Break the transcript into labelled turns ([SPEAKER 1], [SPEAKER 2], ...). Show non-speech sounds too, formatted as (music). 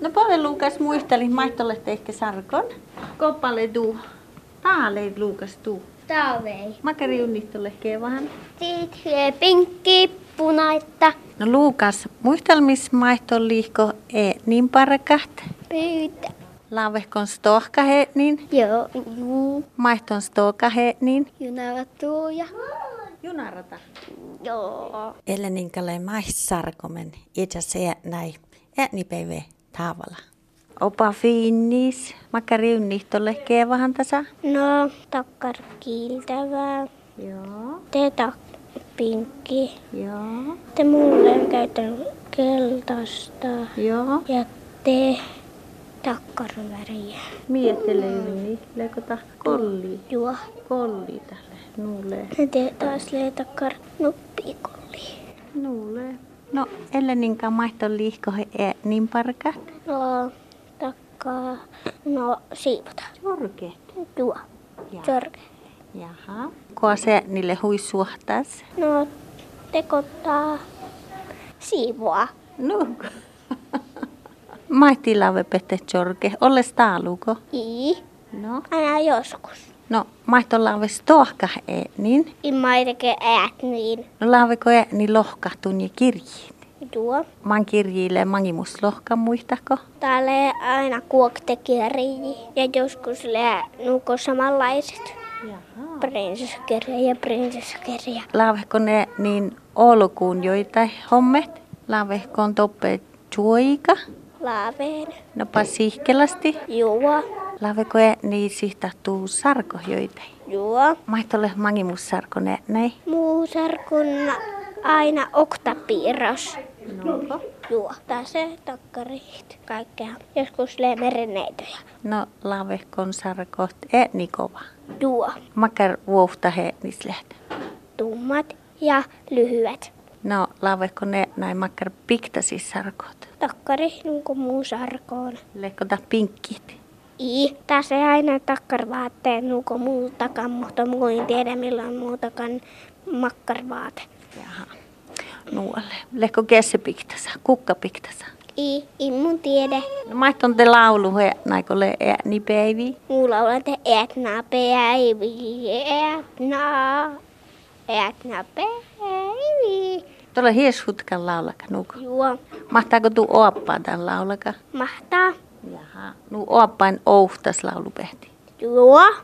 [SPEAKER 1] No pove Luukas muistelis mahtolle ehkä sarkon. Koppale tuu. Taale Luukas tuu.
[SPEAKER 2] Talvei.
[SPEAKER 1] Makari unnistolle kevahan.
[SPEAKER 2] Tiit pinkki, punaita,
[SPEAKER 1] No Luukas, muistelmis mahtol liihko e niin parkat.
[SPEAKER 2] pyytä.
[SPEAKER 1] Laavehkon stohkahe niin.
[SPEAKER 2] Joo, juu.
[SPEAKER 1] Maihton stohkahe niin.
[SPEAKER 2] Junavatuja.
[SPEAKER 1] Junarata.
[SPEAKER 2] Joo.
[SPEAKER 1] Eleninkale maissarkomen itse se näin äänipäivä tavalla. Opa finnis, makari unnihtolle kevahan tasa.
[SPEAKER 2] No, takkar kiiltävää.
[SPEAKER 1] Joo,
[SPEAKER 2] Te tak- pinkki.
[SPEAKER 1] joo,
[SPEAKER 2] Te mulle käytän keltaista.
[SPEAKER 1] joo.
[SPEAKER 2] Ja te takkarväriä.
[SPEAKER 1] Miettele yli, leikota kolli,
[SPEAKER 2] Joo.
[SPEAKER 1] kolli tälle, nuulee,
[SPEAKER 2] Ja te taas leitakkar nuppikolli.
[SPEAKER 1] nuulee. No, elleninkaan maihton liihkohe ää niin parkat.
[SPEAKER 2] No, takkaa. No, siivota.
[SPEAKER 1] Jorke.
[SPEAKER 2] Joo.
[SPEAKER 1] Ja.
[SPEAKER 2] Jorge.
[SPEAKER 1] Jaha. Koa se niille huissuhtas.
[SPEAKER 2] No, tekottaa siivoa.
[SPEAKER 1] No. (laughs) Maihtilave pette jorke, olles taaluko.
[SPEAKER 2] I.
[SPEAKER 1] No.
[SPEAKER 2] Aina joskus.
[SPEAKER 1] No, mahtollaan stohka e, niin.
[SPEAKER 2] Imma ei tekee äät niin.
[SPEAKER 1] No laaveko e, niin lohkahtun ja kirjiin.
[SPEAKER 2] Tuo.
[SPEAKER 1] Man kirjiille mangimus lohka muistako?
[SPEAKER 2] Täällä aina kuokte kirji. Ja joskus lää nuko samanlaiset.
[SPEAKER 1] Jaha.
[SPEAKER 2] Prinsessakirja ja prinsessakirja.
[SPEAKER 1] Laavehko ne niin olkuun joitain hommet? Laavehko on toppe juoika?
[SPEAKER 2] Laaveen.
[SPEAKER 1] Nopa sihkelasti.
[SPEAKER 2] Juo.
[SPEAKER 1] Laaveko e, niin sihtahtuu sarko joitain.
[SPEAKER 2] Juo.
[SPEAKER 1] Mahtolle mangimus sarko ne näin.
[SPEAKER 2] Muu sarkun aina oktapiirros.
[SPEAKER 1] Noko.
[SPEAKER 2] Juo. Tase takkarit. Kaikkea. Joskus lää merenneitoja.
[SPEAKER 1] No laavehkon sarkoht e, niin kova.
[SPEAKER 2] Juo.
[SPEAKER 1] Makar vuohtahe nisleht.
[SPEAKER 2] Tummat ja lyhyet.
[SPEAKER 1] No, laavehko ne näin makkar piktasis sarkot?
[SPEAKER 2] Takkari niinku muu sarkoon.
[SPEAKER 1] Leikota pinkkit.
[SPEAKER 2] I. Tässä ei aina takkarvaatteen nuko muutakaan, mutta muu en tiedä milloin muutakaan makkarvaate.
[SPEAKER 1] Jaha. Nuolle. Leikko kesse piktasa, kukka piktasa.
[SPEAKER 2] I. Immun tiede.
[SPEAKER 1] No maitton te laulu he naikolle ääni päivi.
[SPEAKER 2] Mulla on te etna päivi, etna, etna päivi.
[SPEAKER 1] Tuolla hies hutkan laulaka nuku.
[SPEAKER 2] Juo,
[SPEAKER 1] Mahtaako tuu oappaan tämän laulaka?
[SPEAKER 2] mahtaa.
[SPEAKER 1] Jaha. Nuu oappain ouhtas laulupehti.
[SPEAKER 2] Juo,